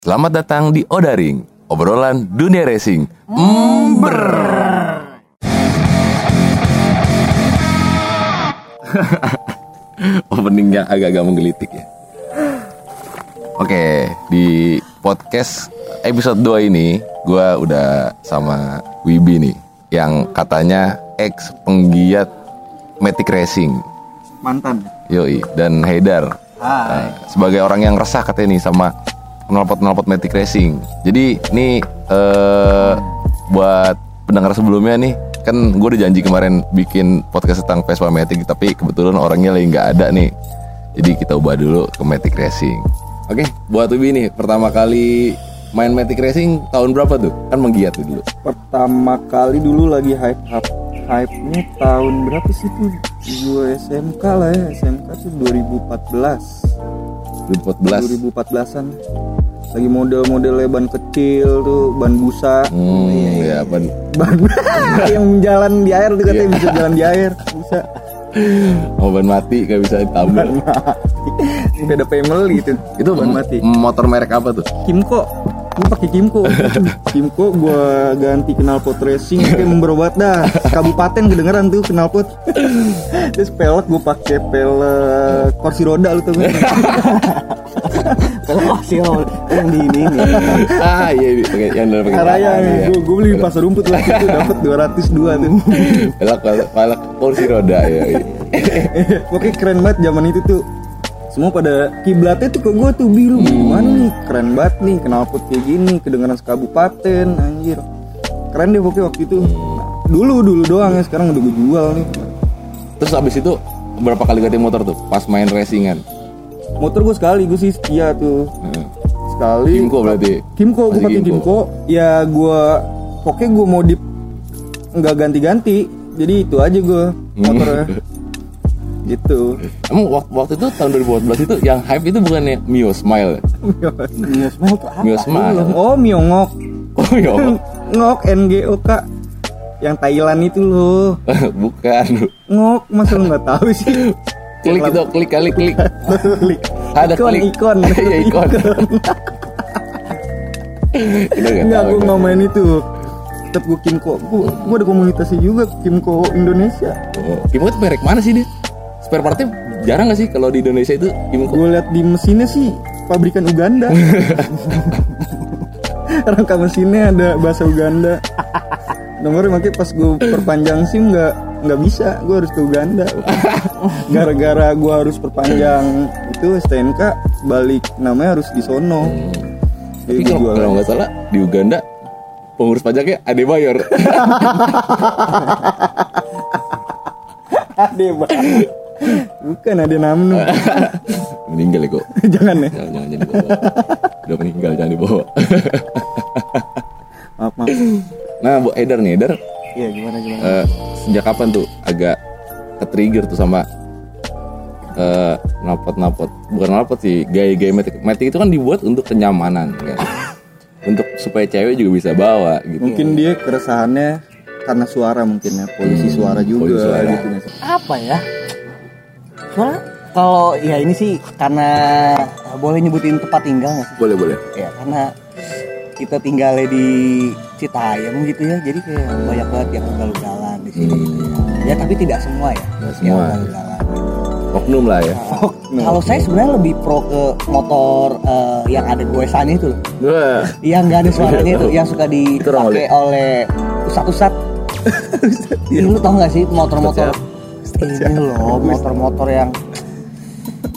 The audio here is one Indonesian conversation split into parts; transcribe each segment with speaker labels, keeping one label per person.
Speaker 1: Selamat datang di Odaring, obrolan dunia racing. Ember. Openingnya agak-agak menggelitik ya. Oke, di podcast episode 2 ini gua udah sama Wibi nih yang katanya ex penggiat Matic Racing.
Speaker 2: mantan
Speaker 1: Yoi dan Haidar Eh,
Speaker 2: Hai.
Speaker 1: sebagai orang yang resah katanya nih sama penelpot-penelpot Matic Racing. Jadi ini eh buat pendengar sebelumnya nih kan gue udah janji kemarin bikin podcast tentang Vespa Matic tapi kebetulan orangnya lagi nggak ada nih. Jadi kita ubah dulu ke Matic Racing. Oke, buat Ubi nih pertama kali main Matic Racing tahun berapa tuh? Kan menggiat tuh dulu.
Speaker 2: pertama kali dulu lagi hype hype hype nya tahun berapa sih tuh gue SMK lah ya SMK tuh 2014
Speaker 1: 2014.
Speaker 2: 2014an lagi model-modelnya ban kecil tuh ban busa
Speaker 1: Hmm, ya apa?
Speaker 2: ban yang jalan di air tuh
Speaker 1: Iya.
Speaker 2: katanya bisa jalan di air bisa
Speaker 1: Oh, ban mati gak bisa ditambah.
Speaker 2: Udah ada pemel gitu
Speaker 1: Itu ban
Speaker 2: mati
Speaker 1: Motor merek apa tuh?
Speaker 2: Kimco gue pakai Kimco Kimco gue ganti knalpot racing kayak memberobat dah kabupaten kedengeran tuh knalpot terus pelek gue pakai pelek kursi roda lu tuh
Speaker 3: Kalau masih mau yang di ini nih.
Speaker 1: ah iya iya, pakai yang dulu pakai
Speaker 2: karaya
Speaker 1: tangan, iya.
Speaker 2: gue gue beli di pasar rumput lah itu dapat 202 tuh
Speaker 1: pelak pelak pelak kursi roda ya iya.
Speaker 2: pokoknya keren banget zaman itu tuh semua pada kiblatnya tuh ke gue tuh biru gimana
Speaker 1: Hmm.
Speaker 2: nih keren banget nih knalpot kayak gini kedengeran sekabupaten anjir keren deh pokoknya waktu itu Nah, dulu dulu doang ya sekarang udah gue jual nih
Speaker 1: terus abis itu berapa kali ganti motor tuh pas main racingan
Speaker 2: motor gue sekali gue sih setia tuh
Speaker 1: Heeh.
Speaker 2: sekali
Speaker 1: Kimco berarti
Speaker 2: Kimco gue
Speaker 1: Masih
Speaker 2: pakai
Speaker 1: Kimco.
Speaker 2: Kimco ya gue pokoknya gue modif nggak ganti-ganti jadi itu aja gue
Speaker 1: Hmm.
Speaker 2: motornya gitu
Speaker 1: emang waktu, waktu itu tahun 2014 itu yang hype itu bukannya Mio Smile
Speaker 3: Iya, semua itu apa?
Speaker 1: Mio Smile
Speaker 2: oh Miongok
Speaker 1: oh Mio
Speaker 2: Kan ngok NGOK yang Thailand itu loh
Speaker 1: bukan
Speaker 2: ngok masa lu nggak tahu sih
Speaker 1: klik itu klik kali klik ada
Speaker 2: ikon
Speaker 1: klik
Speaker 2: ikon
Speaker 1: iya ikon Itu nggak
Speaker 2: Enggak,
Speaker 1: tahu
Speaker 2: gue
Speaker 1: itu.
Speaker 2: nggak main itu tetep gue Kimco gue gue ada komunitasnya juga Kimco Indonesia
Speaker 1: Oh, Kimco itu merek mana sih dia spare partnya jarang gak sih kalau di Indonesia itu Kimco
Speaker 2: Gue lihat di mesinnya sih pabrikan Uganda. Rangka mesinnya ada bahasa Uganda. Nomornya makanya pas gue perpanjang SIM nggak nggak bisa, gue harus ke Uganda. Gara-gara gue harus perpanjang itu STNK balik namanya harus di sono.
Speaker 1: Tapi
Speaker 2: Jadi
Speaker 1: kalau,
Speaker 2: gue Iya, jualan.
Speaker 1: kalau nggak salah di Uganda pengurus pajaknya ada bayar.
Speaker 2: Ade, Bang. Bukan ada namnu.
Speaker 1: meninggal ya kok.
Speaker 2: Jangan ya.
Speaker 1: Jangan jangan jangan dibawa. Udah meninggal jangan dibawa.
Speaker 2: Maaf, maaf.
Speaker 1: nah, Bu Eder nih, Eder
Speaker 3: Iya, gimana gimana.
Speaker 1: eh, sejak kapan tuh agak ke-trigger tuh sama eh napot-napot bukan napot sih gaya-gaya metik metik itu kan dibuat untuk kenyamanan kan untuk supaya cewek juga bisa bawa gitu
Speaker 2: Mungkin dia keresahannya karena suara mungkin ya, polisi suara juga
Speaker 1: polisi suara.
Speaker 2: gitu ya.
Speaker 3: Apa ya? Soalnya kalau ya ini sih karena eh, boleh nyebutin tempat tinggal nggak sih?
Speaker 1: boleh boleh
Speaker 3: Ya karena kita tinggalnya di Citayam gitu ya, jadi kayak banyak banget yang ugal-ugalan di sini.
Speaker 1: Hmm.
Speaker 3: gitu ya. Ya tapi tidak semua ya.
Speaker 1: Nggak
Speaker 3: yang
Speaker 1: semua.
Speaker 3: ugal-ugalan.
Speaker 1: oknum lah ya
Speaker 3: Nah, Kalau saya sebenarnya lebih pro ke motor eh, yang ada goesannya itu loh.
Speaker 1: Wah,
Speaker 3: yang Iya, nggak ada suaranya itu yang suka
Speaker 1: Itu
Speaker 3: dipakai oleh ustad-ustad Ih, lu tau gak sih motor-motor ini loh motor-motor yang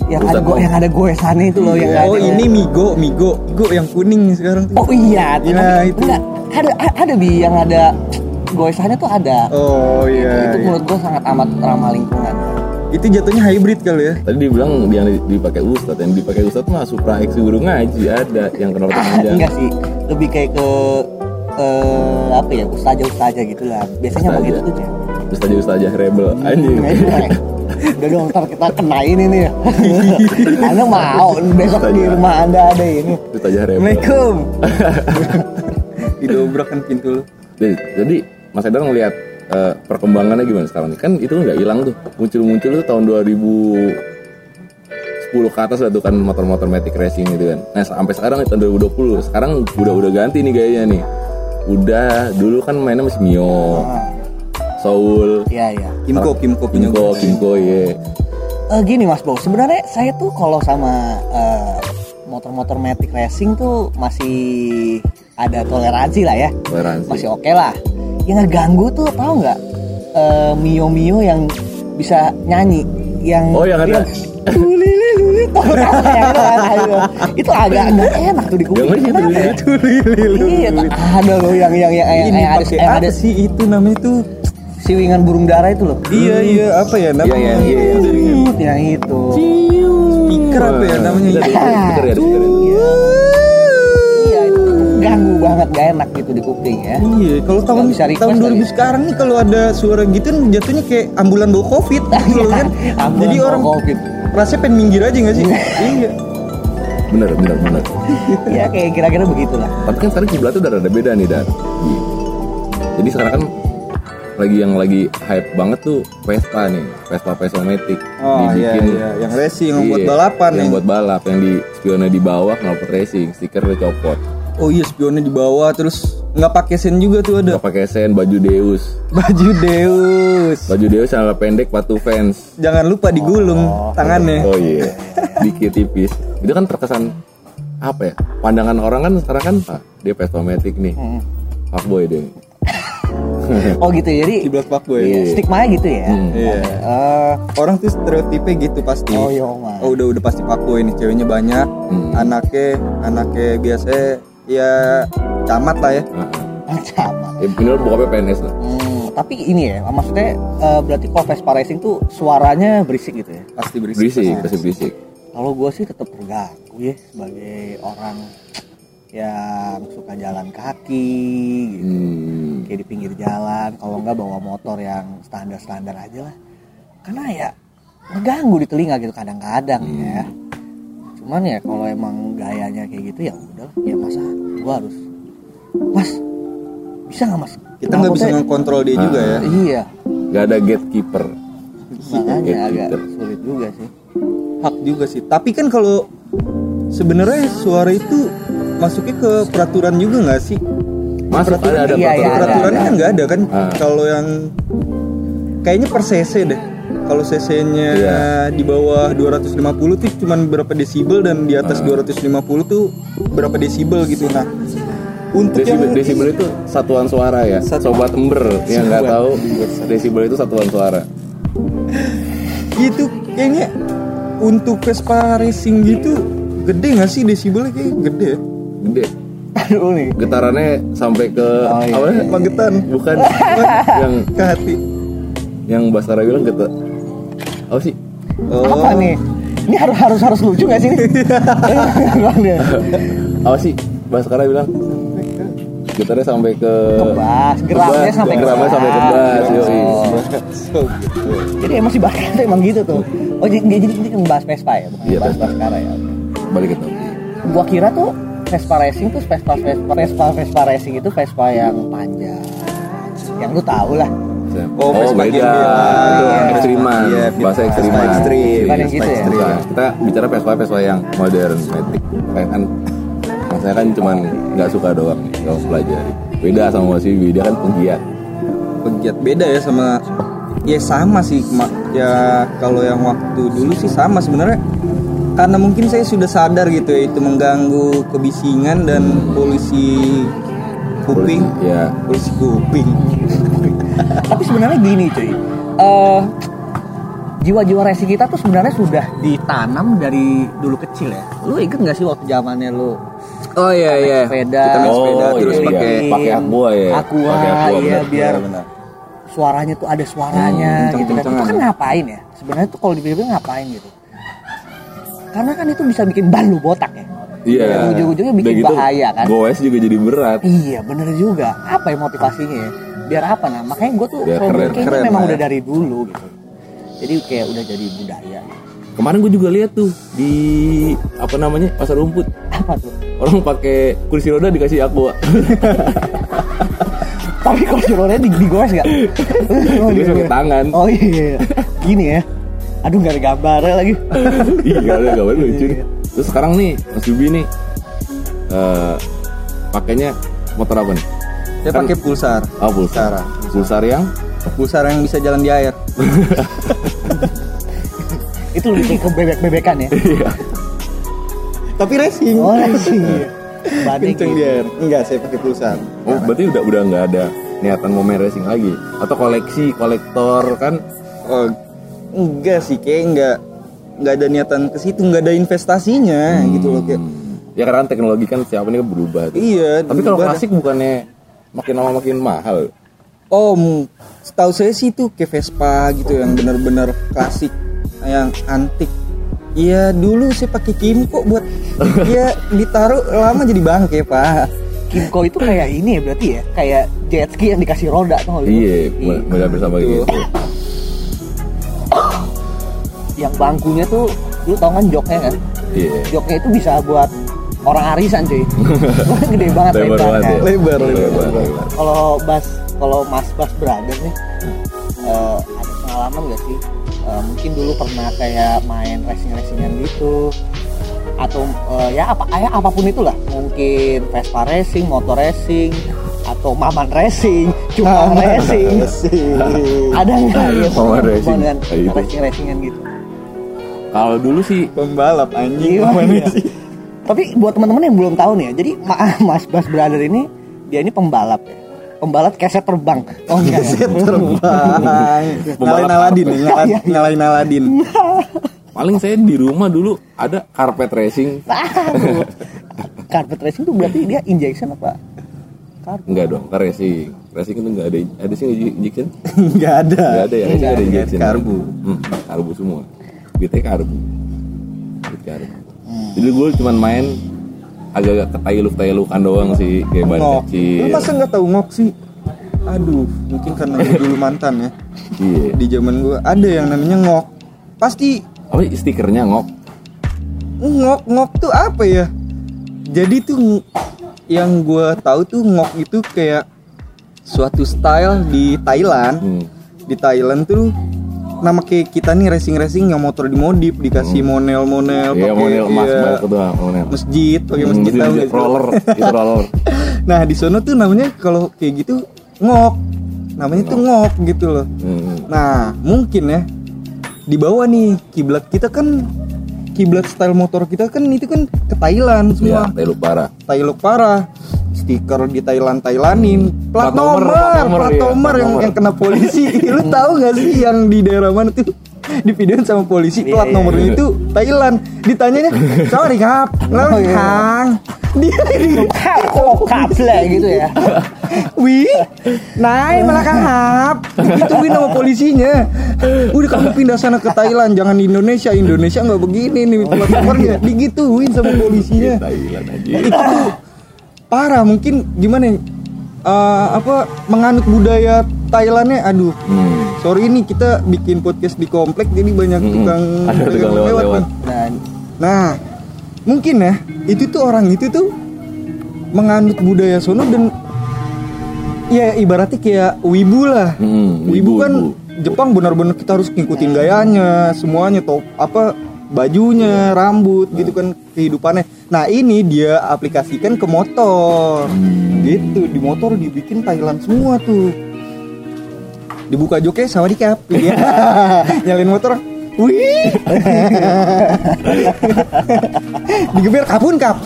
Speaker 3: yang ada
Speaker 1: Ustad
Speaker 3: go yang ada goesannya itu loh yang
Speaker 2: oh
Speaker 3: ada-
Speaker 2: ini migo, migo, migo yang kuning sekarang tuh.
Speaker 3: oh iya
Speaker 2: Iya,
Speaker 3: tapi-
Speaker 2: itu.
Speaker 3: enggak, ada a- ada bi yang ada goesannya tuh ada
Speaker 2: Oh iya.
Speaker 3: itu
Speaker 2: iya.
Speaker 3: menurut gua sangat amat ramah lingkungan
Speaker 2: Itu jatuhnya hybrid kali ya.
Speaker 1: Tadi dibilang
Speaker 3: Hmm.
Speaker 1: yang dipakai Ustadz, yang dipakai Ustadz mah Supra X guru ngaji ada yang kenal panjang.
Speaker 3: Ah, enggak Iya sih lebih kayak ke eh, apa ya ustaja-ustaja gitu lah biasanya
Speaker 1: Ustaja.
Speaker 3: begitu tuh ya
Speaker 1: Ustadz Ustadz rebel
Speaker 3: Hmm.
Speaker 1: anjing.
Speaker 3: Udah dong ntar kita kenain ini ya Anda mau besok di rumah Anda ada ini
Speaker 1: Ustadz rebel.
Speaker 3: Assalamualaikum
Speaker 2: Didobrak kan pintu lu.
Speaker 1: Jadi, jadi Mas Edar ngelihat eh, perkembangannya gimana sekarang nih? Kan itu nggak hilang tuh. Muncul-muncul tuh tahun 2010 2010 ke atas lah tuh kan motor-motor Matic Racing gitu kan. Nah sampai sekarang tahun 2020, sekarang udah udah ganti nih gayanya nih. Udah dulu kan mainnya masih Mio,
Speaker 3: Ah.
Speaker 1: Soul,
Speaker 3: Iya, iya.
Speaker 2: Kimco, Kimco punya
Speaker 1: Kimco,
Speaker 2: gua.
Speaker 1: Kimco ya.
Speaker 3: Eh, gini Mas Bo, sebenarnya saya tuh kalau sama eh, motor-motor Matic Racing tuh masih ada toleransi lah ya.
Speaker 1: Toleransi.
Speaker 3: Masih oke lah. Yang ngeganggu tuh tahu nggak? Eh, Mio-mio yang bisa nyanyi yang
Speaker 1: Oh, yang ada-
Speaker 3: Tulili, luli, tau nggak apa yang itu kan? Ayo. itu agak nggak enak tuh di kuping
Speaker 1: Yang mana sih
Speaker 3: Kenapa
Speaker 1: tulili?
Speaker 3: ya?
Speaker 2: Tulili,
Speaker 3: iya tak- ada loh yang yang yang, yang,
Speaker 2: Ini
Speaker 3: yang ada
Speaker 2: pakai
Speaker 3: yang
Speaker 2: apa
Speaker 3: ada Hmm.
Speaker 2: sih itu namanya tuh?
Speaker 3: siwingan burung dara itu loh
Speaker 2: Iya iya apa ya
Speaker 1: Iya
Speaker 2: namanya? Hmm.
Speaker 1: iya iya. iya, iya, iya.
Speaker 3: yang itu
Speaker 2: Speaker apa ya namanya?
Speaker 1: Iya, iya, iya, speaker ya, speaker ya.
Speaker 3: Iya itu ganggu banget gak enak gitu di kuping ya.
Speaker 2: Iya, kalau tahun
Speaker 3: bisa request
Speaker 2: tahun
Speaker 3: kali
Speaker 2: 2000
Speaker 3: ya.
Speaker 2: sekarang nih kalau ada suara gitu jatuhnya kayak ambulan bawa covid gitu loh kan.
Speaker 3: Ambulan
Speaker 2: Jadi
Speaker 3: bawa
Speaker 2: orang
Speaker 3: COVID.
Speaker 2: rasanya pengen minggir aja gak sih? iya.
Speaker 1: Bener bener bener.
Speaker 3: Iya kayak kira-kira begitulah.
Speaker 1: Tapi kan sekarang kiblatnya udah rada beda nih dan. Jadi sekarang kan lagi yang lagi hype banget tuh Vespa nih, Vespa Vespa Matic
Speaker 2: Oh iya iya, yang racing yang buat
Speaker 1: Iya,
Speaker 2: balapan
Speaker 1: yang
Speaker 2: yang
Speaker 1: buat balap yang di spionnya di bawah knalpot racing stiker udah copot
Speaker 2: Oh iya spionnya di bawah terus nggak pakai sen juga tuh ada
Speaker 1: nggak pakai sen baju deus
Speaker 2: baju Deus.
Speaker 1: baju deus celana pendek patu fans
Speaker 2: Jangan lupa digulung tangannya.
Speaker 1: oh iya dikit tipis itu kan terkesan apa ya pandangan orang kan sekarang kan ah, dia pestomatic nih
Speaker 2: Hmm.
Speaker 1: fuckboy deh
Speaker 2: Iya.
Speaker 3: Oh gitu jadi
Speaker 2: Kiblat pak gue.
Speaker 3: iya, stigmanya gitu ya.
Speaker 2: Iya.
Speaker 3: Eh,
Speaker 2: Orang tuh stereotipe gitu pasti.
Speaker 3: oh yo man.
Speaker 2: Oh udah udah pasti Papua ini ceweknya banyak,
Speaker 1: Hmm.
Speaker 2: anaknya anaknya biasa ya camat lah ya.
Speaker 3: Sama.
Speaker 1: ya minimal bokapnya PNS lah
Speaker 3: Hmm, tapi ini ya maksudnya eh, berarti kalau Vespa Racing tuh suaranya berisik gitu ya.
Speaker 2: Pasti berisik. Nah,
Speaker 1: berisik pasti berisik
Speaker 3: Kalau gue sih tetap terganggu ya sebagai orang yang suka jalan kaki gitu.
Speaker 1: hmm.
Speaker 3: kayak di pinggir jalan kalau nggak bawa motor yang standar standar aja lah karena ya ngeganggu di telinga gitu kadang-kadang ya
Speaker 2: Hmm.
Speaker 3: cuman ya kalau emang gayanya kayak gitu ya udah ya masa gua harus mas bisa nggak mas
Speaker 2: Kita nggak bisa
Speaker 3: Maksudnya-
Speaker 2: ngontrol dia juga ya.
Speaker 1: Ah.
Speaker 3: iya
Speaker 1: nggak ada gatekeeper
Speaker 2: Iya,
Speaker 3: makanya
Speaker 1: kayak
Speaker 3: agak
Speaker 1: gitu.
Speaker 3: sulit juga sih
Speaker 2: Hak juga sih. Tapi kan kalau sebenarnya suara itu masuknya ke peraturan juga nggak sih?
Speaker 1: masuk ada ada
Speaker 3: Iya, iya,
Speaker 1: peraturan
Speaker 2: Peraturannya
Speaker 3: ada.
Speaker 2: kan nggak ada kan?
Speaker 1: Ah.
Speaker 2: Kalau yang kayaknya per cc deh. Kalau cc-nya
Speaker 1: Iya.
Speaker 2: di bawah 250 tuh cuman berapa desibel dan di
Speaker 1: Ah.
Speaker 2: atas 250 tuh berapa desibel gitu. Nah, untuk
Speaker 1: Desibel,
Speaker 2: yang
Speaker 1: desibel itu satuan suara ya. Sobat ember yang nggak tahu desibel itu satuan suara.
Speaker 2: itu gitu kayaknya untuk Vespa racing gitu gede nggak sih desibelnya kayak gede ya?
Speaker 1: Gede.
Speaker 3: aduh nih
Speaker 1: Getarannya sampai ke
Speaker 3: Oh,
Speaker 1: apa
Speaker 3: iya, iya,
Speaker 1: namanya?
Speaker 2: iya. Magetan.
Speaker 1: Bukan yang
Speaker 2: ke hati
Speaker 1: yang Basara bilang geta. Apa sih?
Speaker 3: apa
Speaker 2: Oh.
Speaker 1: Oh.
Speaker 3: nih ini harus harus harus lucu nggak sih ini? Iya.
Speaker 1: Apa sih? Basara bilang getarnya sampai ke
Speaker 3: kebas geramnya
Speaker 1: Kebas,
Speaker 3: sampai
Speaker 1: geramnya sampai kebas, yoi.
Speaker 3: Oh.
Speaker 2: So, gitu.
Speaker 3: Jadi emang si Bahkan tuh emang gitu tuh. Oh jadi dia jadi dia ngebahas Vespa ya, bukan
Speaker 1: Iya,
Speaker 3: ngebahas
Speaker 1: Vespa.
Speaker 3: Baskara ya.
Speaker 1: balik ke topik.
Speaker 3: Gua kira tuh Vespa racing tuh Vespa Vespa Vespa Vespa racing itu Vespa yang panjang. Yang lu tau lah.
Speaker 1: Oh,
Speaker 2: Oh, Vespa
Speaker 1: beda.
Speaker 2: Gembel.
Speaker 1: Itu
Speaker 2: Iya.
Speaker 1: ekstriman.
Speaker 2: Iya,
Speaker 1: Bahasa
Speaker 2: Vespa
Speaker 1: ekstriman.
Speaker 2: ekstrim.
Speaker 1: Iya,
Speaker 3: Bukan yang
Speaker 1: Vespa
Speaker 3: gitu ya?
Speaker 1: ekstrim. Bukan. Kita bicara Vespa Vespa yang modern, metik. Kayak kan maksudnya kan cuman nggak suka doang nih, kalau pelajari. Beda sama Mas Wibi, dia kan penggiat.
Speaker 2: pegiat beda ya sama ya sama sih Ma- ya kalau yang waktu dulu sih sama sebenarnya karena mungkin saya sudah sadar gitu ya itu mengganggu kebisingan dan polusi kuping
Speaker 1: Ya.
Speaker 2: polusi kuping
Speaker 3: Tapi sebenarnya gini cuy. Eh, jiwa-jiwa racing kita tuh sebenarnya sudah ditanam dari dulu kecil ya. Lu inget gak sih waktu zamannya lu
Speaker 2: oh iya iya
Speaker 3: sepeda,
Speaker 2: kita main sepeda
Speaker 1: Oh,
Speaker 2: terus
Speaker 1: iya, iya.
Speaker 2: pakai
Speaker 1: pakai aqua ya.
Speaker 3: Aqua,
Speaker 1: Pakai aqua,
Speaker 3: iya,
Speaker 1: benar.
Speaker 3: biar
Speaker 2: benar.
Speaker 3: suaranya tuh ada
Speaker 2: Hmm,
Speaker 3: suaranya gitu kan. Itu kan
Speaker 2: kenceng-kencengan.
Speaker 3: ngapain ya? Sebenarnya tuh kalau dipikir ngapain gitu. Karena kan itu bisa bikin ban lu botak ya.
Speaker 1: Iya.
Speaker 3: Dan ujung-ujungnya bikin
Speaker 1: Udah gitu,
Speaker 3: bahaya kan.
Speaker 1: Goes juga jadi berat.
Speaker 3: Iya, bener juga. Apa ya motivasinya ya? Biar apa nah? Makanya gue tuh
Speaker 1: Biar
Speaker 3: kalau
Speaker 1: keren.
Speaker 3: dulu kayaknya
Speaker 2: Keren
Speaker 3: memang
Speaker 2: lah ya.
Speaker 3: udah dari dulu gitu. Jadi kayak udah jadi budaya.
Speaker 1: Kemarin gue juga lihat tuh di apa namanya pasar rumput
Speaker 3: Apa tuh?
Speaker 1: orang pakai kursi roda dikasih aqua.
Speaker 3: Tapi kalau suruhnya di digores gak?
Speaker 1: Dia pakai tangan.
Speaker 3: Oh iya. Gini ya. aduh nggak ada gambarnya lagi
Speaker 1: Iya, ada gambar lucu. nih. Terus sekarang nih Mas Bibi nih eh pakainya motor apa nih?
Speaker 2: Saya
Speaker 1: Kan-
Speaker 2: pakai pulsar.
Speaker 1: Oh, pulsar.
Speaker 2: Pulsar.
Speaker 1: Pulsar yang
Speaker 2: Pulsar yang bisa jalan di air.
Speaker 3: itu lebih ke bebek-bebekan ya
Speaker 2: Iya. Tapi racing.
Speaker 3: oh iya Banding
Speaker 2: Kenceng di
Speaker 3: gitu.
Speaker 2: air. Enggak, saya pakai pulsar.
Speaker 1: Oh, berarti udah udah nggak ada niatan mau main racing lagi atau koleksi kolektor kan
Speaker 2: Oh, enggak sih, kayak enggak enggak ada niatan ke situ, enggak ada
Speaker 1: Hmm.
Speaker 2: investasinya gitu loh kayak.
Speaker 1: ya karena teknologi kan siapa nih berubah tuh.
Speaker 2: Iya.
Speaker 1: tapi kalau
Speaker 2: berubah.
Speaker 1: klasik bukannya makin lama makin mahal
Speaker 2: Om, setahu saya sih itu kayak Vespa gitu yang benar-benar klasik, yang antik. Iya dulu saya pakai Kimco buat ya ditaruh lama jadi bangke pak.
Speaker 3: Kimco itu kayak ini ya berarti ya kayak jet ski yang dikasih roda tuh
Speaker 1: iya mul- mulai bersama gitu
Speaker 3: yang bangkunya tuh lu tau kan joknya kan
Speaker 1: iya
Speaker 3: joknya itu bisa buat orang arisan cuy gede banget
Speaker 1: lebar
Speaker 3: lebarnya.
Speaker 1: banget ya
Speaker 2: Nah, Lebar, lebar,
Speaker 1: lebar.
Speaker 3: kalau Bas kalau Mas Bas Brother nih eh, ada pengalaman gak sih Eh, mungkin dulu pernah kayak main racing racingan gitu atau eh, ya apa kayak apapun itulah mungkin Vespa racing, motor racing atau Maman racing, cuma
Speaker 1: Iya
Speaker 3: racing ada nggak ya
Speaker 1: Maman racing.
Speaker 3: dengan
Speaker 1: Ya, itu.
Speaker 3: racing racingan gitu
Speaker 1: kalau dulu sih
Speaker 2: Pembalap anjing.
Speaker 3: Iya,
Speaker 2: Gimana
Speaker 3: iya.
Speaker 2: sih?
Speaker 3: Tapi buat teman-teman yang belum tahu nih ya, jadi Ma- Mas Bas Brother ini dia ini pembalap ya. Pembalap keset terbang. Oh enggak. ya?
Speaker 2: Terbang. Nyalain Aladin, nih,
Speaker 1: Iya,
Speaker 2: nyala- nyalain Aladin.
Speaker 1: paling saya di rumah dulu ada carpet racing
Speaker 3: Tahu. Carpet racing tuh berarti dia injection apa? Carpet.
Speaker 1: enggak dong kan racing racing itu enggak ada ada sih nggak injection
Speaker 2: Enggak ada.
Speaker 1: enggak ada ya racing ada
Speaker 3: Enggak,
Speaker 2: enggak ada
Speaker 1: injection
Speaker 2: karbu.
Speaker 1: hmm, karbu semua BT karbu Beat karbu
Speaker 2: Hmm.
Speaker 1: jadi gue cuman main agak-agak ketayeluk tayulukan doang sih kayak ban
Speaker 2: Ngok. Lu
Speaker 1: kecil
Speaker 2: masa nggak tahu ngok sih? Aduh, mungkin karena gue dulu mantan ya.
Speaker 1: iya
Speaker 2: Di zaman gue ada yang namanya ngok. Pasti
Speaker 1: apa sih stikernya ngok
Speaker 2: ngok ngok tuh apa ya jadi tuh ng- yang gue tahu tuh ngok itu kayak suatu style di Thailand
Speaker 1: hmm.
Speaker 2: di Thailand tuh nama kayak kita nih racing racing yang motor dimodif dikasih monel monel
Speaker 1: Iya, model emas banget tuh, model.
Speaker 2: masjid pakai
Speaker 1: Hmm,
Speaker 2: masjid
Speaker 1: itu-
Speaker 2: tahu
Speaker 1: itu
Speaker 2: nggak sih?
Speaker 1: roller, itu roller.
Speaker 2: nah di sono tuh namanya kalau kayak gitu ngok namanya tuh ngok gitu loh
Speaker 1: Hmm.
Speaker 2: Nah, mungkin ya di bawah nih kiblat kita kan kiblat style motor kita kan itu kan ke Thailand
Speaker 1: Iya,
Speaker 2: semua.
Speaker 1: tayeluk parah.
Speaker 2: Thailand parah. Stiker di Thailand Thailanin, plat,
Speaker 1: Plat
Speaker 2: nomor,
Speaker 1: nomor, plat nomor,
Speaker 2: plat
Speaker 1: iya,
Speaker 2: nomor
Speaker 1: plat
Speaker 2: yang,
Speaker 1: nomor.
Speaker 2: yang kena polisi. Lu tahu gak sih yang di daerah mana tuh? di videoin sama polisi
Speaker 3: Iya,
Speaker 2: plat
Speaker 3: iya,
Speaker 2: nomornya
Speaker 1: iya.
Speaker 2: itu Thailand ditanyanya sorry kap
Speaker 3: Oh, iya.
Speaker 2: lang dia di
Speaker 3: Kap, oh, kaple gitu ya.
Speaker 2: Wi, naik malah kahap. Ditungguin sama polisinya. Udah kamu pindah sana ke Thailand, jangan di Indonesia. Indonesia nggak begini nih plat nomornya. Digituin sama polisinya.
Speaker 1: Iya, Thailand aja.
Speaker 2: Itu tuh parah mungkin gimana ya? Eh, apa menganut budaya Thailandnya aduh
Speaker 1: Hmm.
Speaker 2: sorry ini kita bikin podcast di komplek jadi banyak
Speaker 1: Mm-mm.
Speaker 2: tukang
Speaker 1: Ada
Speaker 2: tukang
Speaker 1: tukang lewat-lewat.
Speaker 2: nih.
Speaker 3: Nah,
Speaker 2: Nah, mungkin ya itu tuh orang itu tuh menganut budaya sono dan ya ibaratnya kayak wibu lah.
Speaker 1: Hmm,
Speaker 2: wibu,
Speaker 1: wibu,
Speaker 2: kan
Speaker 1: wibu. Ya.
Speaker 2: Jepang benar-benar kita harus ngikutin gayanya, semuanya top apa bajunya,
Speaker 1: Ya.
Speaker 2: rambut gitu kan kehidupannya. Nah, ini dia aplikasikan ke motor.
Speaker 1: Hmm.
Speaker 2: Gitu, di motor dibikin Thailand semua tuih dibuka joknya sama dikap ya. nyalin motor wih digeber kapun kap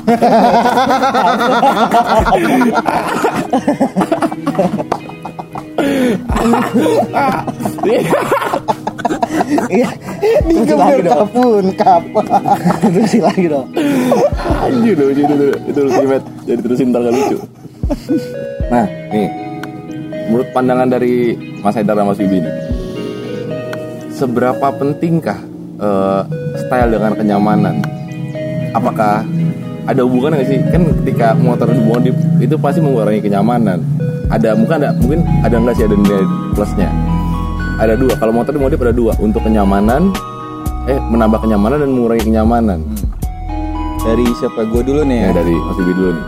Speaker 3: iya. Terusin
Speaker 2: digeber
Speaker 3: lagi dong.
Speaker 2: kapun kap
Speaker 3: Terusin lagi dong.
Speaker 1: Anjir dong, itu itu itu ultimate. Jadi terusin ntar gak lucu. Nah, nih. Menurut pandangan dari Mas Haidar dan Mas Bibi nih. Seberapa pentingkah eh, style dengan kenyamanan? Apakah ada hubungan nggak sih? Kan ketika motor dimodif itu pasti mengurangi kenyamanan. Ada mungkin ada mungkin ada nggak sih ada nilai plusnya? Ada dua. Kalau motor dimodif ada dua untuk kenyamanan, eh menambah kenyamanan dan mengurangi kenyamanan.
Speaker 2: dari siapa gue dulu
Speaker 1: Ya
Speaker 2: nih ya
Speaker 1: dari Mas Bibi dulu nih.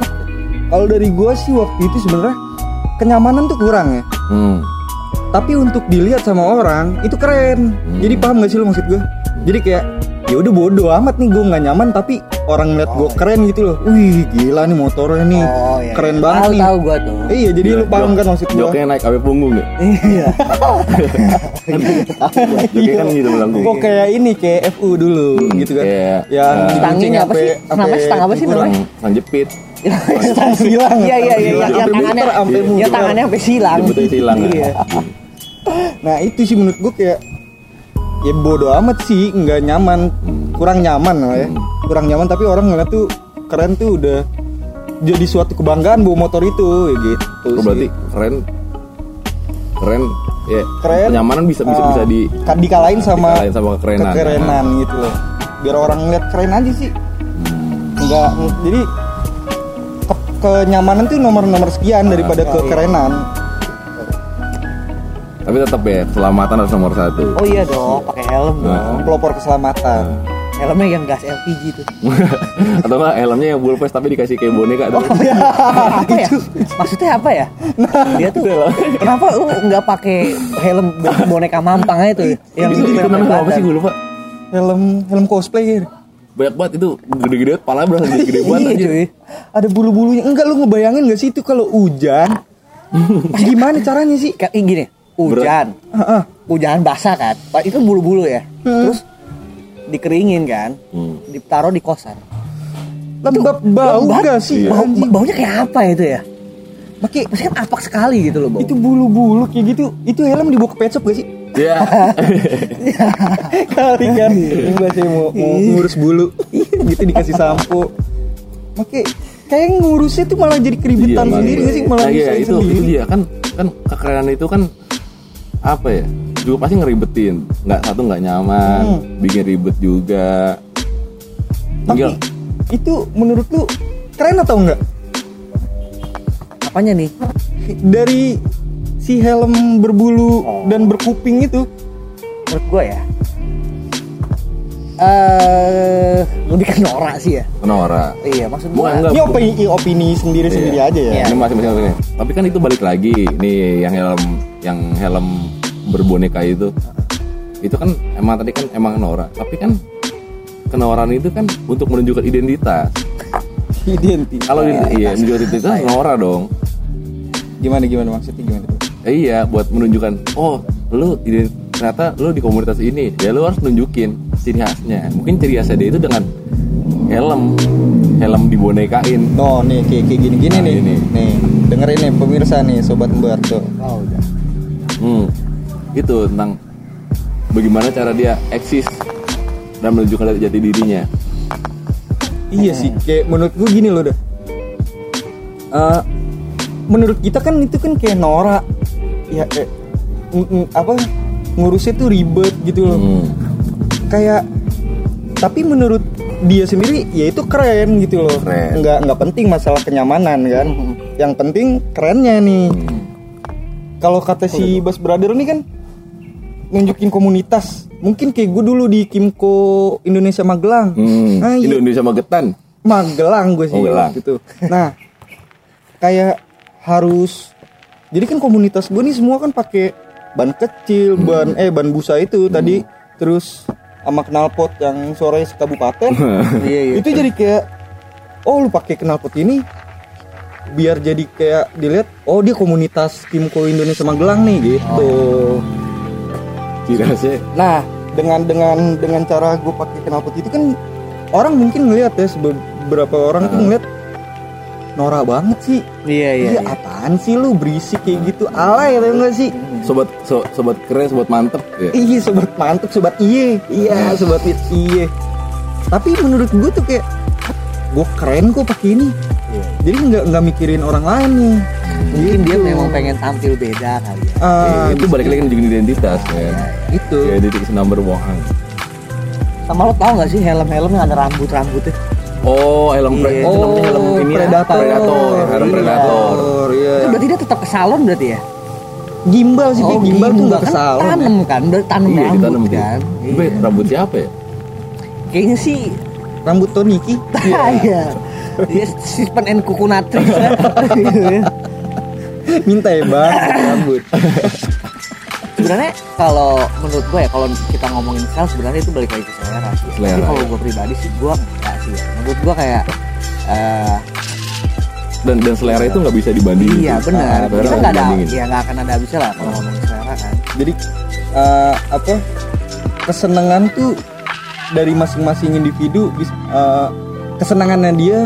Speaker 2: kalau dari gue sih waktu itu sebenarnya kenyamanan tuh kurang ya
Speaker 1: Hmm.
Speaker 2: Hmm. tapi untuk dilihat sama orang itu keren jadi paham gak sih lo maksud gue jadi kayak ya udah bodoh amat nih gue nggak nyaman tapi orang ngeliat
Speaker 3: Oh, iya.
Speaker 2: gue keren gitu loh wih gila nih motornya nih keren banget
Speaker 3: tahu,
Speaker 2: nih
Speaker 3: Tahu iya, gua tuh.
Speaker 2: Eh, iya jadi lu paham kan maksud gue
Speaker 1: Joknya naik sampai punggung ya.
Speaker 3: Iya.
Speaker 1: Joknya kan gitu melengkung.
Speaker 2: Kok Iya. kayak ini kayak FU dulu gitu kan
Speaker 1: kayak,
Speaker 2: yang
Speaker 1: eh,
Speaker 2: digunting
Speaker 3: Stangnya apa
Speaker 2: sampai-
Speaker 3: sih?
Speaker 2: sampai
Speaker 3: Namanya stang apa sih
Speaker 2: tengkurap.
Speaker 3: namanya?
Speaker 1: Sang jepit.
Speaker 2: Stang silang
Speaker 3: Iya iya iya
Speaker 2: Stang
Speaker 3: yang- yang
Speaker 2: silang.
Speaker 3: tangannya
Speaker 2: Muter, sampai
Speaker 3: ya
Speaker 2: muter.
Speaker 3: tangannya sampai silang.
Speaker 1: Jemputnya hilang.
Speaker 3: Iya.
Speaker 1: Iya.
Speaker 2: Nah itu sih menurut gue kayak ya bodoh amat sih nggak nyaman
Speaker 1: Hmm.
Speaker 2: kurang nyaman lah ya kurang nyaman tapi orang ngeliat tuh keren tuh udah jadi suatu kebanggaan bawa motor itu ya
Speaker 1: Kok
Speaker 2: gitu sih.
Speaker 1: Oh, berarti keren keren ya
Speaker 2: Keren.
Speaker 1: kenyamanan bisa bisa
Speaker 2: Ah,
Speaker 1: bisa di
Speaker 2: kan dikalahin sama
Speaker 1: dikalahin sama kekerenan. Nah.
Speaker 2: kekerenan gitu loh biar orang ngeliat keren aja sih
Speaker 1: Hmm.
Speaker 2: nggak jadi ke- kenyamanan tuh nomor nomor sekian
Speaker 1: Nah,
Speaker 2: daripada
Speaker 3: iya.
Speaker 2: kekerenan
Speaker 1: tapi tetap ya keselamatan harus nomor satu
Speaker 3: Oh iya dong, pakai helm dong.
Speaker 1: Oh.
Speaker 2: pelopor keselamatan
Speaker 3: Helmnya yang gas LPG tuh.
Speaker 1: atau enggak helmnya yang bulpes tapi dikasih kayak boneka
Speaker 2: Oh,
Speaker 1: tuh
Speaker 3: Iya. apa ya? Maksudnya apa ya? Dia tuh kenapa lu nggak pakai helm bentuk boneka mampang aja tuh ya? yang
Speaker 1: itu, itu namanya apa sih gue lupa Nah.
Speaker 2: helm helm cosplay gitu.
Speaker 1: banyak banget itu gede-gede banget pala berasa gede-gede banget
Speaker 3: Iya
Speaker 1: aja
Speaker 3: cuy.
Speaker 2: ada bulu-bulunya enggak lu ngebayangin gak sih itu kalau hujan gimana caranya sih
Speaker 3: Kayak eh, gini, hujan,
Speaker 2: Heeh.
Speaker 3: hujan basah kan? Pa- Itu bulu-bulu ya.
Speaker 2: Hmm.
Speaker 3: Terus dikeringin kan?
Speaker 1: Hmm.
Speaker 3: Ditaruh di kosan.
Speaker 2: lembab bau gak
Speaker 3: Lembat,
Speaker 2: sih
Speaker 3: bau-
Speaker 2: anjing?
Speaker 3: baunya kayak apa itu ya?
Speaker 2: Maki,
Speaker 3: Maksudnya kan apak sekali gitu loh bau.
Speaker 2: itu bulu-bulu kayak gitu itu helm dibawa ke pet shop gak sih
Speaker 1: ya
Speaker 2: kali kan enggak sih mau, mau ngurus bulu gitu dikasih sampo Maki, kayak ngurusnya tuh malah jadi keributan
Speaker 1: Iya,
Speaker 2: sendiri
Speaker 1: makanya.
Speaker 2: gak sih malah
Speaker 1: Nah, iya,
Speaker 2: nyusahin
Speaker 1: itu,
Speaker 2: sendiri
Speaker 1: itu dia kan kan kekerenan itu kan apa ya juga pasti ngeribetin nggak satu nggak nyaman bikin ribet juga
Speaker 2: Hmm. tapi
Speaker 1: Enggak.
Speaker 2: itu menurut lu keren atau enggak
Speaker 3: Apanya nih?
Speaker 2: dari si helm berbulu dan berkuping itu
Speaker 3: Menurut gue ya. Eh, lebih ke norak sih ya.
Speaker 1: Nora
Speaker 3: Iya, maksud
Speaker 1: Bukan,
Speaker 3: gue.
Speaker 1: enggak.
Speaker 2: ini opini opini sendiri sendiri
Speaker 1: Iya.
Speaker 2: aja ya
Speaker 3: Iya.
Speaker 1: ini masih masih masih. tapi kan itu balik lagi nih yang helm yang helm berboneka itu itu kan emang tadi kan emang Nora tapi kan kenoran itu kan untuk menunjukkan identitas
Speaker 2: identitas
Speaker 1: kalau ident- iya menunjukkan identitas Nora dong
Speaker 2: gimana gimana maksudnya gimana tuh
Speaker 1: Eh, iya buat menunjukkan oh lu ident- ternyata lu di komunitas ini ya lu harus nunjukin ciri khasnya mungkin ciri khasnya dia itu dengan helm helm dibonekain
Speaker 2: no nih kayak kayak gini gini
Speaker 1: Nah,
Speaker 2: nih
Speaker 1: ini.
Speaker 2: nih dengerin nih pemirsa nih sobat embar tuh
Speaker 3: Oh, udah.
Speaker 1: Hmm, itu tentang bagaimana cara dia eksis dan menunjukkan jati dirinya.
Speaker 2: iya sih kayak menurut gua gini loh dah Eh, menurut kita kan itu kan kayak norak ya eh, ng- ng- apa ngurusnya tuh ribet gitu loh
Speaker 1: Hmm.
Speaker 2: kayak tapi menurut dia sendiri ya itu keren gitu loh
Speaker 1: Keren. Hmm.
Speaker 2: nggak nggak penting masalah kenyamanan kan yang penting kerennya nih kalau kata si Bas Brother nih kan nunjukin komunitas mungkin kayak gue dulu di Kimco Indonesia Magelang
Speaker 1: Hmm.
Speaker 2: Nah, iya.
Speaker 1: Indonesia magetan.
Speaker 2: Magelang gue sih
Speaker 1: Oh, Magelang.
Speaker 2: gitu nah kayak harus jadi kan komunitas gue nih semua kan pakai ban kecil ban eh ban busa itu tadi terus sama knalpot yang sore sekabupaten
Speaker 3: Iya, iya.
Speaker 2: itu jadi kayak oh lu pakai knalpot ini biar jadi kayak dilihat oh dia komunitas Kimco Indonesia Magelang nih gitu
Speaker 1: Ciri khasnya.
Speaker 2: Nah, dengan dengan dengan cara gue pakai knalpot itu kan orang mungkin ngelihat ya beberapa orang tuh ngelihat norak banget sih.
Speaker 3: Iya, iya.
Speaker 2: Iya, apaan sih lu berisik kayak gitu? Alay tau enggak sih?
Speaker 1: Sobat so- sobat keren, sobat mantep. Ya.
Speaker 2: Iya, sobat mantep, sobat iye. Iya, sobat i- iye. Tapi menurut gue tuh kayak gue keren kok pakai ini. Jadi nggak nggak mikirin orang lain nih. Iya,
Speaker 3: Mungkin dia memang pengen tampil beda kali ya.
Speaker 2: Ah,
Speaker 1: Eh, itu balik lagi menunjukkan identitas ya.
Speaker 2: itu.
Speaker 1: Ya, identitas number one.
Speaker 3: Sama lo tau gak sih helm-helm yang ada rambut-rambutnya?
Speaker 1: Oh, helm pre-
Speaker 3: Iya.
Speaker 1: itu namanya helm
Speaker 2: Oh,
Speaker 1: ini ya.
Speaker 2: predator.
Speaker 1: Predator, helm
Speaker 2: Iya.
Speaker 1: predator.
Speaker 2: Iya.
Speaker 3: Itu berarti dia tetap ke salon berarti ya?
Speaker 2: Gimbal sih, Pi. Oh, gimbal, tuh nggak
Speaker 3: kan
Speaker 2: kesal.
Speaker 3: Tanem kan, udah tanem
Speaker 1: Iya,
Speaker 3: rambut
Speaker 1: kita nemu
Speaker 3: kan. Iya.
Speaker 1: Be, rambut siapa ya?
Speaker 3: Kayaknya sih
Speaker 2: Rambut Toniki.
Speaker 3: Iya. Iya, Sispen and Kukunatris ya.
Speaker 2: Minta ya bang rambut.
Speaker 3: sebenarnya kalau menurut gue ya kalau kita ngomongin sales sebenarnya itu balik lagi ke selera sih. Ya. Tapi
Speaker 1: Selera,
Speaker 3: kalau gue pribadi sih gue enggak sih. ya. Menurut gue kayak eh,
Speaker 1: dan dan selera itu nggak bisa dibandingin
Speaker 3: iya benar.
Speaker 1: selera
Speaker 3: Kita
Speaker 1: nggak iya.
Speaker 3: nggak
Speaker 1: Hmm.
Speaker 3: ada
Speaker 1: Nah, dibandingin.
Speaker 3: ya nggak akan ada habisnya lah kalau ngomongin selera kan.
Speaker 2: jadi eh, apa kesenangan tuh dari masing-masing individu bis- eh, kesenangannya dia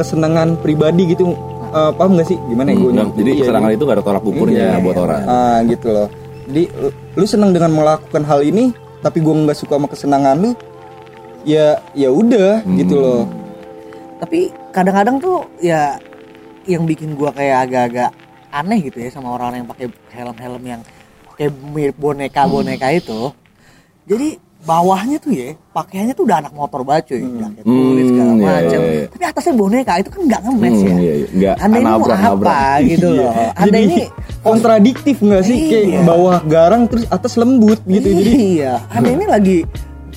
Speaker 2: kesenangan pribadi gitu Eh, paham gak sih gimana
Speaker 1: Hmm,
Speaker 2: ya gue
Speaker 1: nah, jadi
Speaker 2: Iya,
Speaker 1: serangan itu nggak ada tolak ukurnya
Speaker 3: Iya,
Speaker 1: buat
Speaker 3: iya,
Speaker 1: orang
Speaker 2: Ah, gitu loh. Jadi lu- lu senang dengan melakukan hal ini, tapi gua nggak suka sama kesenangan lu. Ya ya udah
Speaker 1: Hmm.
Speaker 2: gitu loh.
Speaker 3: tapi kadang-kadang tuh ya yang bikin gua kayak agak-agak aneh gitu ya sama orang-orang yang pakai helm-helm yang kayak mirip
Speaker 1: Hmm.
Speaker 3: boneka-boneka itu. Jadi bawahnya tuh ya pakaiannya tuh udah anak motor banget cuy, jaket kulit segala
Speaker 1: Hmm, iya,
Speaker 3: macam.
Speaker 1: iya, iya.
Speaker 3: Tapi atasnya boneka itu kan nggak nge-match
Speaker 1: Hmm,
Speaker 3: ya.
Speaker 1: iya, iya. Nggak,
Speaker 3: Anda ini mau
Speaker 1: nabrak,
Speaker 3: apa
Speaker 1: nabrak.
Speaker 3: gitu loh.
Speaker 2: Iya.
Speaker 3: Anda
Speaker 2: Jadi,
Speaker 3: ini
Speaker 2: kontradiktif nggak sih?
Speaker 3: Iya.
Speaker 2: Kayak bawah garang terus atas lembut gitu. Jadi
Speaker 3: iya, Anda ini lagi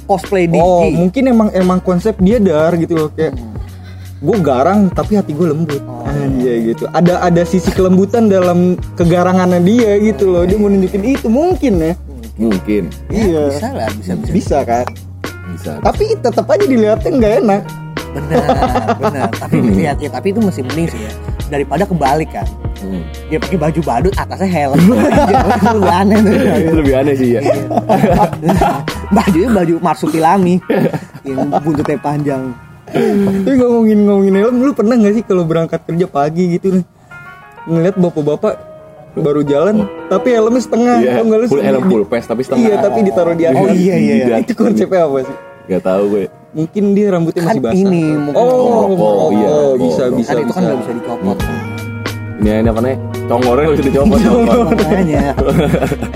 Speaker 3: cosplay Diki.
Speaker 2: oh mungkin emang emang konsep dia dar gitu loh kayak gue garang tapi hati gue lembut anjay gitu ada ada sisi kelembutan dalam kegarangannya dia gitu loh dia mau nunjukin itu mungkin ya
Speaker 1: mungkin
Speaker 3: Ya,
Speaker 2: iya
Speaker 3: Bisa lah, bisa bisa.
Speaker 2: bisa kan
Speaker 1: bisa
Speaker 2: tapi tetap aja dilihatin nggak enak
Speaker 3: Benar, benar. Tapi lihat ya, tapi itu masih mending sih ya daripada kebalik kan.
Speaker 1: Hmm.
Speaker 3: dia pakai baju badut atasnya helm Iya, itu lebih aneh tuh
Speaker 1: itu Iya, lebih aneh sih ya
Speaker 3: bajunya baju marsupilami yang buntutnya panjang
Speaker 2: Tapi ngomongin ngomongin helm, lu pernah nggak sih kalau berangkat kerja pagi gitu nih ngeliat bapak-bapak baru jalan, tapi helmnya setengah,
Speaker 1: Iya,
Speaker 2: tau nggak lu?
Speaker 1: full helm
Speaker 2: Di-
Speaker 1: full face tapi setengah
Speaker 2: Iya, tapi ditaruh di atas.
Speaker 3: Oh, iya, iya, iya.
Speaker 2: Itu konsepnya apa sih?
Speaker 1: nggak tahu gue
Speaker 2: Mungkin dia rambutnya masih
Speaker 3: Kan
Speaker 2: basah.
Speaker 3: ini, mungkin
Speaker 2: oh,
Speaker 1: rokok,
Speaker 2: rokok.
Speaker 1: iya, rokok.
Speaker 2: bisa
Speaker 1: Kan
Speaker 2: bisa
Speaker 3: kan itu
Speaker 2: bisa.
Speaker 3: kan nggak bisa dicopot
Speaker 1: ini ini apa nih congornya nggak bisa dicopot congor
Speaker 3: makanya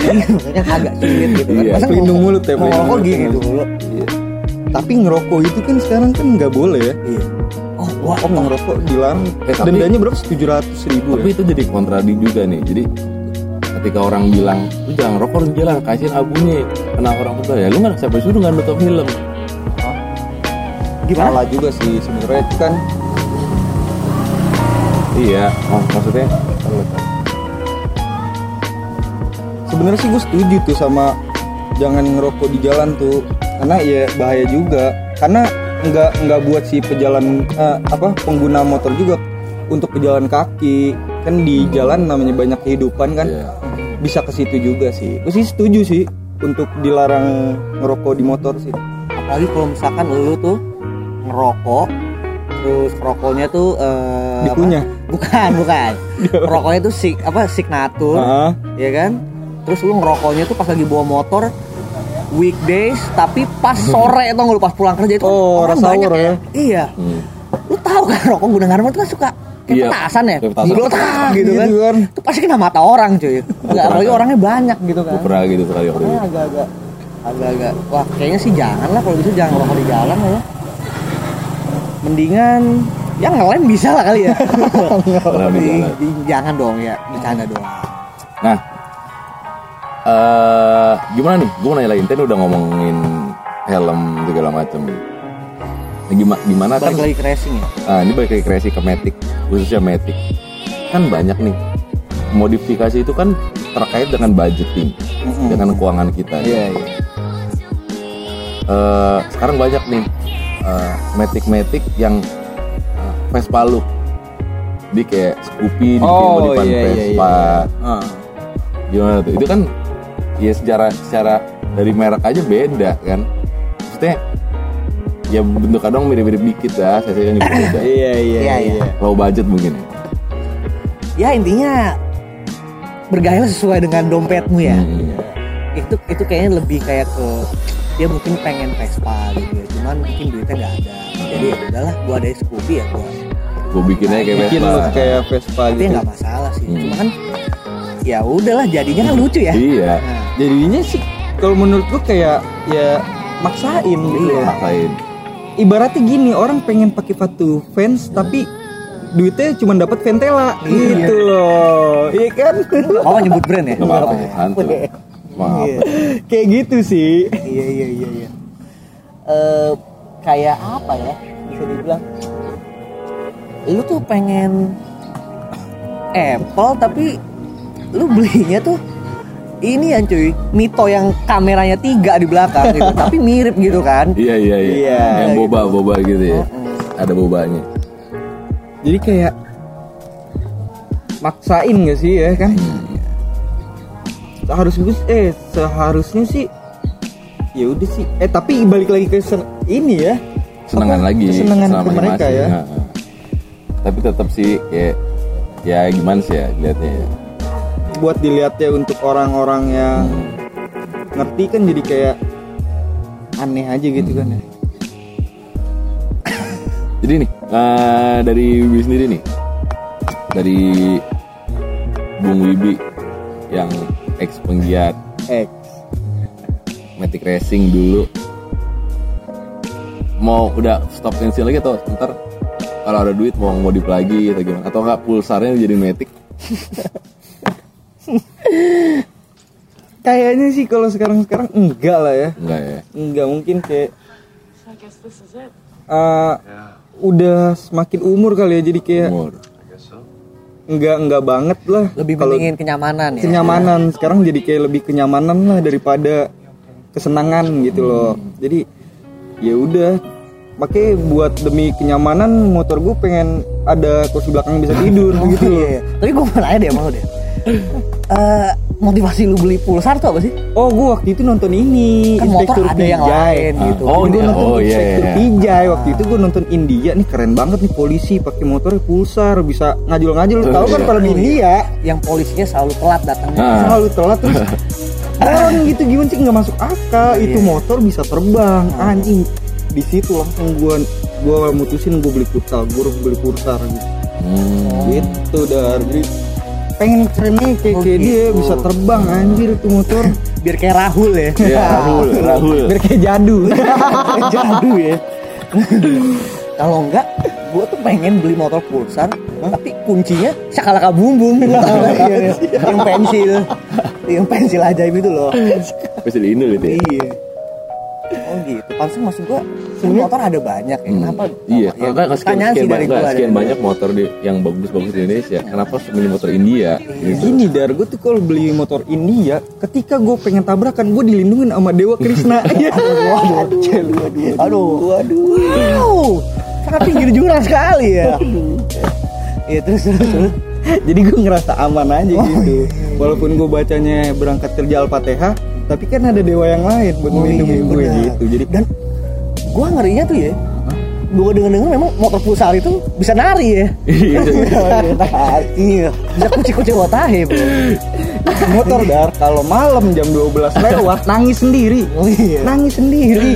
Speaker 3: Iya, makanya agak sulit gitu kan
Speaker 1: Iya,
Speaker 3: Masa
Speaker 2: pelindung
Speaker 3: ngerokok-
Speaker 2: mulut ya, pelindung
Speaker 3: ngerokok
Speaker 2: mulut.
Speaker 3: gini dulu
Speaker 2: Iya. Tapi ngerokok itu kan sekarang kan nggak boleh ya.
Speaker 3: iya oh gua
Speaker 2: Oh, ngerokok dilarang.
Speaker 1: Eh, tapi-
Speaker 2: Dendanya berapa? 700 ribu ya.
Speaker 1: tapi itu jadi kontradik juga nih jadi ketika orang bilang lu jangan rokok di jalan kasihin abunya kena orang muda ya lu nggak sampai suruh nggak nutup film
Speaker 3: gimana
Speaker 2: Salah juga sih sebenarnya itu kan
Speaker 1: iya mak- maksudnya
Speaker 2: sebenarnya sih gue setuju tuh sama jangan ngerokok di jalan tuh karena ya bahaya juga karena nggak nggak buat si pejalan eh, apa pengguna motor juga untuk pejalan kaki kan di jalan namanya banyak kehidupan kan
Speaker 1: Iya.
Speaker 2: bisa ke situ juga sih gue sih setuju sih untuk dilarang ngerokok di motor sih
Speaker 3: apalagi kalau misalkan lu tuh ngerokok terus rokoknya tuh eh, apa?
Speaker 2: Dikunyah?
Speaker 3: bukan bukan rokoknya tuh sig apa signatur
Speaker 2: Ah.
Speaker 3: ya kan terus lu ngerokoknya tuh pas lagi bawa motor weekdays tapi pas sore atau lu pas pulang kerja itu kan
Speaker 2: Oh,
Speaker 3: orang
Speaker 2: rush
Speaker 3: banyak
Speaker 2: hour
Speaker 3: ya.
Speaker 2: ya.
Speaker 3: iya
Speaker 1: hmm.
Speaker 3: lu tahu kan rokok gudang garam itu kan suka kayak
Speaker 1: Iya,
Speaker 3: petasan ya
Speaker 1: kayak petasan.
Speaker 3: Geletak gitu kan
Speaker 2: Iya, kan.
Speaker 3: itu pasti kena mata orang cuy nggak apalagi orangnya banyak gitu
Speaker 1: gue
Speaker 3: kan
Speaker 1: pernah gitu sekali waktu itu
Speaker 3: Makanya agak-agak agak-agak wah kayaknya sih jangan lah kalau bisa jangan ngerokok di jalan lah ya mendingan ya ngelem bisa lah kali ya
Speaker 1: Ngelem di
Speaker 3: Ih,
Speaker 1: jalan.
Speaker 3: di- jangan dong ya bercanda doang
Speaker 1: nah eh gimana nih gue mau nanya lagi Tadi udah ngomongin helm segala macem Nah, gimana gimana kan
Speaker 3: balik lagi ke racing ya
Speaker 1: Ah, ini balik lagi ke kreasi ke Matic, khususnya Matic. Kan banyak nih. Modifikasi itu kan terkait dengan budgeting, dengan keuangan kita. ya.
Speaker 2: iya iya
Speaker 1: Eh, sekarang banyak nih eh, Matic-Matic yang eh, Vespa look. Jadi kayak Scoopy dibikin
Speaker 2: Oh,
Speaker 1: modifan
Speaker 2: iya, iya,
Speaker 1: Vespa.
Speaker 2: Ah.
Speaker 1: Gimana tuh? Itu kan ya secara secara dari merek aja beda kan. Maksudnya ya bentuk kadang mirip-mirip dikit lah, saya kan juga beda.
Speaker 2: iya iya
Speaker 3: Iya, iya.
Speaker 2: iya
Speaker 1: Low budget mungkin ya.
Speaker 3: ya intinya bergaya sesuai dengan dompetmu ya
Speaker 1: Hmm.
Speaker 3: itu itu kayaknya lebih kayak ke dia mungkin pengen Vespa gitu ya cuman mungkin duitnya nggak ada jadi ya udahlah gua ada Scoopy ya gua
Speaker 1: gue bikin aja kayak
Speaker 2: bikin
Speaker 1: Vespa.
Speaker 2: look kayak Vespa
Speaker 3: tapi ya
Speaker 2: gitu
Speaker 3: nggak masalah sih
Speaker 1: Hmm.
Speaker 3: cuma kan ya udahlah jadinya kan lucu ya
Speaker 1: Iya.
Speaker 3: Nah,
Speaker 2: jadinya sih kalau menurut gue kayak ya maksain gitu
Speaker 3: Iya.
Speaker 2: loh.
Speaker 1: Maksain.
Speaker 2: ibaratnya gini orang pengen pakai sepatu fans tapi duitnya cuma dapat Ventela
Speaker 1: Iya.
Speaker 2: gitu loh iya kan
Speaker 3: Oh nyebut brand
Speaker 2: Iya.
Speaker 3: ya?
Speaker 1: Gak apa-apa. Hantu. Maaf.
Speaker 2: kayak gitu sih
Speaker 3: Iya iya iya iya. Eh, kayak apa ya? Bisa dibilang lu tuh pengen Apple tapi lu belinya tuh ini yang cuy Mito yang kameranya tiga di belakang gitu tapi mirip gitu kan
Speaker 1: Iya iya iya.
Speaker 2: Iya,
Speaker 1: Yang boba boba gitu ya. Ada bobanya.
Speaker 2: Jadi kayak maksain gak sih ya kan? Harus bagus eh seharusnya sih ya udah sih. Eh tapi balik lagi ke sen- ini ya.
Speaker 1: Senangan
Speaker 2: Apa?
Speaker 1: lagi.
Speaker 2: Kesenangan ke
Speaker 1: selama
Speaker 2: mereka
Speaker 1: masih.
Speaker 2: ya.
Speaker 1: Ha, ha. Tapi tetap sih kayak ya gimana sih ya lihatnya ya.
Speaker 2: Buat dilihatnya untuk orang-orang yang ngerti kan jadi kayak aneh aja gitu kan ya.
Speaker 1: Jadi nih eh, dari Wibi sendiri nih dari Bung Wibi yang ex penggiat
Speaker 2: Eh,
Speaker 1: Matic Racing dulu mau udah stop pensiun lagi atau ntar kalau ada duit mau modif lagi atau gimana atau enggak pulsarnya jadi Matic
Speaker 2: kayaknya sih kalau sekarang-sekarang enggak lah ya.
Speaker 1: enggak ya
Speaker 2: Enggak mungkin kayak eh, udah semakin umur kali ya jadi kayak
Speaker 1: umur
Speaker 2: enggak enggak banget lah
Speaker 3: lebih
Speaker 2: kalau
Speaker 3: pentingin kenyamanan ya
Speaker 2: kenyamanan sekarang jadi kayak lebih kenyamanan lah daripada kesenangan gitu loh
Speaker 3: Hmm.
Speaker 2: jadi ya udah makanya buat demi kenyamanan motor gue pengen ada kursi belakang bisa tidur gitu
Speaker 3: Iya,
Speaker 2: loh
Speaker 3: iya. tapi gue mau nanya deh mau deh Eh, motivasi lu beli pulsar tuh apa sih
Speaker 2: oh gue waktu itu nonton ini
Speaker 3: Kan motor ada yang
Speaker 2: Pijay.
Speaker 3: lain gitu.
Speaker 1: Oh,
Speaker 2: gue
Speaker 1: ini-
Speaker 2: nonton
Speaker 1: oh, iya,
Speaker 2: Inspektur
Speaker 1: iya.
Speaker 2: Pijay
Speaker 3: Ah.
Speaker 2: waktu itu gue nonton India nih keren banget nih polisi pakai motornya pulsar bisa ngajul-ngajul lu tahu kan
Speaker 1: iya.
Speaker 2: kalau di India
Speaker 3: yang polisinya selalu telat datangnya
Speaker 1: Ah.
Speaker 2: selalu telat terus Orang gitu gimana sih nggak masuk akal itu
Speaker 3: Iya.
Speaker 2: motor bisa terbang anjing di situ langsung gua gua mutusin gua beli futsal gua harus beli futsal
Speaker 3: Oh.
Speaker 2: gitu
Speaker 1: Hmm.
Speaker 2: gitu dar jadi pengen kerennya kayak,
Speaker 3: Oh,
Speaker 2: kayak dia
Speaker 3: gitu.
Speaker 2: bisa terbang anjir itu motor
Speaker 3: biar kayak Rahul ya
Speaker 1: Iya, Rahul, Rahul.
Speaker 2: biar kayak jadu
Speaker 3: jadu ya kalau enggak gue tuh pengen beli motor pulsar tapi kuncinya sakalaka bum bum Lu tau nggak? Iya, iya. yang pensil yang pensil ajaib itu loh
Speaker 1: Pasti di Indo gitu ya.
Speaker 3: iya oh gitu pantas maksud gue sebenarnya motor ada banyak ya kenapa
Speaker 1: Iya,
Speaker 3: ya,
Speaker 1: enggak enggak sekian,
Speaker 3: pertanyaan
Speaker 1: sekian,
Speaker 3: sih dari Iya.
Speaker 1: banyak,
Speaker 3: gue
Speaker 1: sekian banyak motor di, yang bagus-bagus di Indonesia. Kenapa harus milih motor India? Gitu.
Speaker 2: Ya Gini dar, gue tuh kalau beli motor India, ketika gue pengen tabrakan, gue dilindungin sama Dewa Krishna.
Speaker 3: Waduh, aduh, waduh, wow, sangat pinggir jurang sekali ya. Iya terus terus terus.
Speaker 2: jadi gue ngerasa aman aja
Speaker 3: Oh,
Speaker 2: gitu
Speaker 3: iya,
Speaker 2: walaupun gue bacanya berangkat kerja al-fatihah tapi kan ada dewa yang lain buat
Speaker 3: Oh, iya,
Speaker 2: melindungi gue
Speaker 3: benar.
Speaker 2: gitu jadi
Speaker 3: dan gua ngerinya tuh ya gua denger denger memang motor pulsar itu bisa nari ya
Speaker 1: Iya.
Speaker 3: iya bisa kucing kucing watahe bro
Speaker 2: motor
Speaker 3: iya.
Speaker 2: dar kalau malam jam 12 lewat nangis sendiri
Speaker 3: oh iya
Speaker 2: nangis sendiri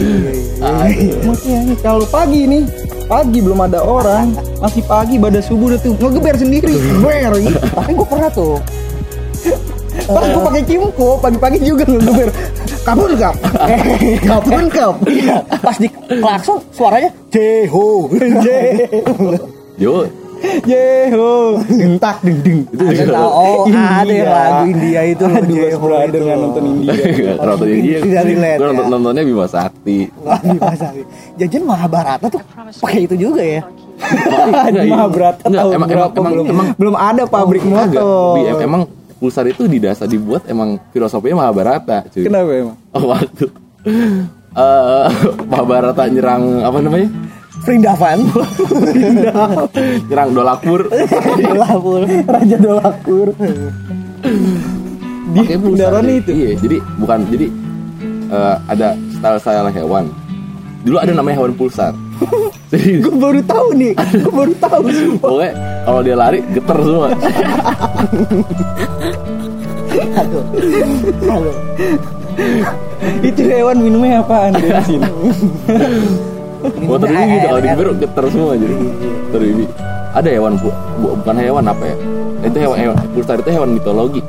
Speaker 2: Ah, makanya kalau pagi nih pagi belum ada orang masih pagi pada subuh udah tuh ngegeber sendiri
Speaker 3: Iya.
Speaker 2: geber gitu
Speaker 3: tapi gua pernah tuh
Speaker 2: pas gue pakai kimco pagi-pagi juga ngegeber kabur kap kabur kap
Speaker 3: pas di klakson suaranya jeho
Speaker 2: Iya.
Speaker 1: Yo,
Speaker 2: yeho gentak ding ding
Speaker 3: ada tau oh ada yang lagu India itu
Speaker 2: Iya.
Speaker 3: loh
Speaker 2: Aduh, Jeho
Speaker 3: itu
Speaker 2: dengan nonton India.
Speaker 1: nonton Iya, India.
Speaker 3: Iya. Tidak relate,
Speaker 1: Gua nonton-
Speaker 3: ya.
Speaker 1: nontonnya Bima Sakti.
Speaker 3: Waduh, Mas Ari. Jajan Mahabharata tuh pakai itu juga ya.
Speaker 2: Mahabharata
Speaker 1: Enggak,
Speaker 2: tahun
Speaker 1: Iya. emang-
Speaker 2: berapa
Speaker 1: emang- emang-
Speaker 2: belum,
Speaker 1: emang-
Speaker 2: belum ada pabrik
Speaker 1: Agak,
Speaker 2: motor.
Speaker 1: Bi, em- emang Pulsar itu di dasar dibuat emang filosofinya Mahabharata, cuy.
Speaker 2: Kenapa emang?
Speaker 1: Oh, waktu eh Mahabharata nyerang apa namanya?
Speaker 3: Vrindavan.
Speaker 1: Nyerang Dolakpur.
Speaker 3: Dolapur.
Speaker 2: Raja Dolakur. Di
Speaker 1: Pakai pulsar,
Speaker 2: kendaraan
Speaker 1: jadi-
Speaker 2: itu.
Speaker 1: Iya, jadi bukan jadi eh, ada style-style hewan. Dulu ada namanya hewan pulsar. Jadi
Speaker 2: Gue baru tahu nih, gue baru tahu.
Speaker 1: pokoknya kalau dia lari geter semua.
Speaker 3: Aduh. Aduh.
Speaker 2: itu hewan minumnya apaan di sini?
Speaker 1: Motor ini gitu kalau di Biru geter semua jadi.
Speaker 2: Iya,
Speaker 1: Motor ini. Ada hewan bu, bu- bukan hewan apa ya? Itu hewan, hewan pulsar itu hewan mitologi.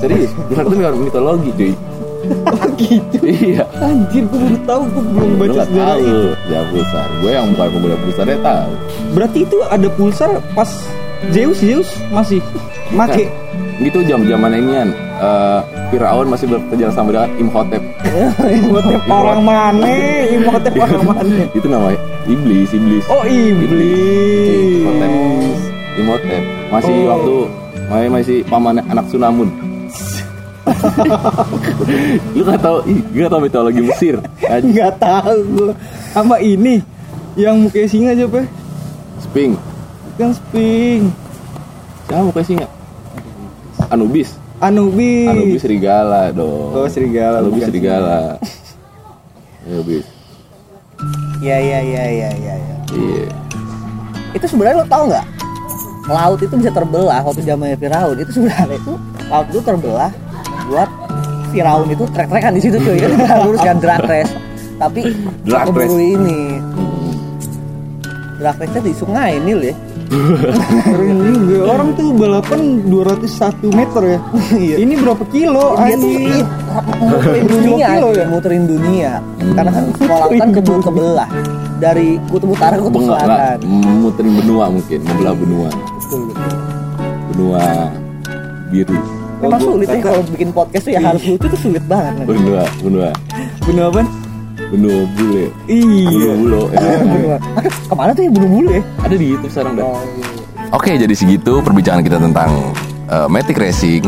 Speaker 1: Serius, pulsar itu hewan mitologi, cuy.
Speaker 2: Oh gitu.
Speaker 1: Iya.
Speaker 2: Anjir, gue baru tahu, gue belum
Speaker 1: Lu
Speaker 2: baca
Speaker 1: nggak
Speaker 2: sejarah
Speaker 1: tahu,
Speaker 2: itu.
Speaker 1: Ya pulsar. Gue yang bukan pemuda pulsar dia tahu.
Speaker 2: Berarti itu ada pulsar pas Zeus Zeus masih
Speaker 4: Kan,
Speaker 2: make.
Speaker 1: Nah,
Speaker 4: gitu
Speaker 1: Itu jam-jaman inian. eh Firaun masih berkejar sama dengan Imhotep.
Speaker 2: Imhotep orang mana? Imhotep orang mana?
Speaker 1: itu namanya iblis, iblis.
Speaker 2: Oh iblis.
Speaker 1: Imhotep. Imhotep. Masih
Speaker 2: Oh.
Speaker 1: waktu masih masih paman anak Sunamun.
Speaker 4: lu nggak tahu ih, gua nggak tahu mitologi Mesir Anj-
Speaker 2: nggak tahu gue sama ini yang mukanya singa siapa
Speaker 1: Sping
Speaker 2: kan sping
Speaker 4: siapa mukanya singa Anubis
Speaker 2: Anubis
Speaker 4: Anubis serigala dong
Speaker 2: Oh, serigala,
Speaker 4: Anubis
Speaker 2: bukan
Speaker 4: serigala Anubis
Speaker 3: Iya iya iya iya iya. Ya.
Speaker 4: iya
Speaker 3: Itu sebenarnya lo tau nggak? Laut itu bisa terbelah waktu zamannya Firaun. Itu sebenarnya itu laut itu terbelah buat Firaun itu trek-trekan di situ cuy. Kan nggak lurus kan drag race. Tapi
Speaker 4: Drag
Speaker 3: keburu ini drag race-nya di sungai Nil ya.
Speaker 2: Keren juga orang tuh balapan 201 meter ya ini berapa kilo
Speaker 3: Dia tuh
Speaker 2: anjir
Speaker 3: muterin dunia,
Speaker 2: Kilo-kilo ya?
Speaker 3: cuy, muterin dunia. Karena kan kalau laut kan keburu kebelah dari kutub utara ke kutub
Speaker 4: Bengal lah
Speaker 3: selatan.
Speaker 4: muterin benua mungkin membelah benua
Speaker 3: Betul, betul.
Speaker 4: benua biru
Speaker 3: Memang
Speaker 2: Oh, gua-
Speaker 3: sulit sih
Speaker 2: kata-
Speaker 3: kalau bikin podcast tuh ya harus lucu tuh sulit banget. men.
Speaker 4: benua benua
Speaker 2: bener apa
Speaker 4: benua bule bulu
Speaker 2: iya
Speaker 4: bulu ya.
Speaker 3: Aduh, kemana tuh ya bulu-bulu ya?
Speaker 4: ada di YouTube sekarang dah
Speaker 1: Oke, jadi segitu perbincangan kita tentang eh, Matic Racing.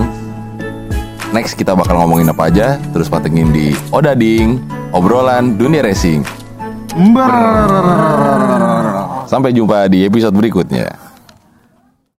Speaker 1: Next kita bakal ngomongin apa aja, terus patengin di Odading, obrolan dunia racing. Sampai jumpa di episode berikutnya.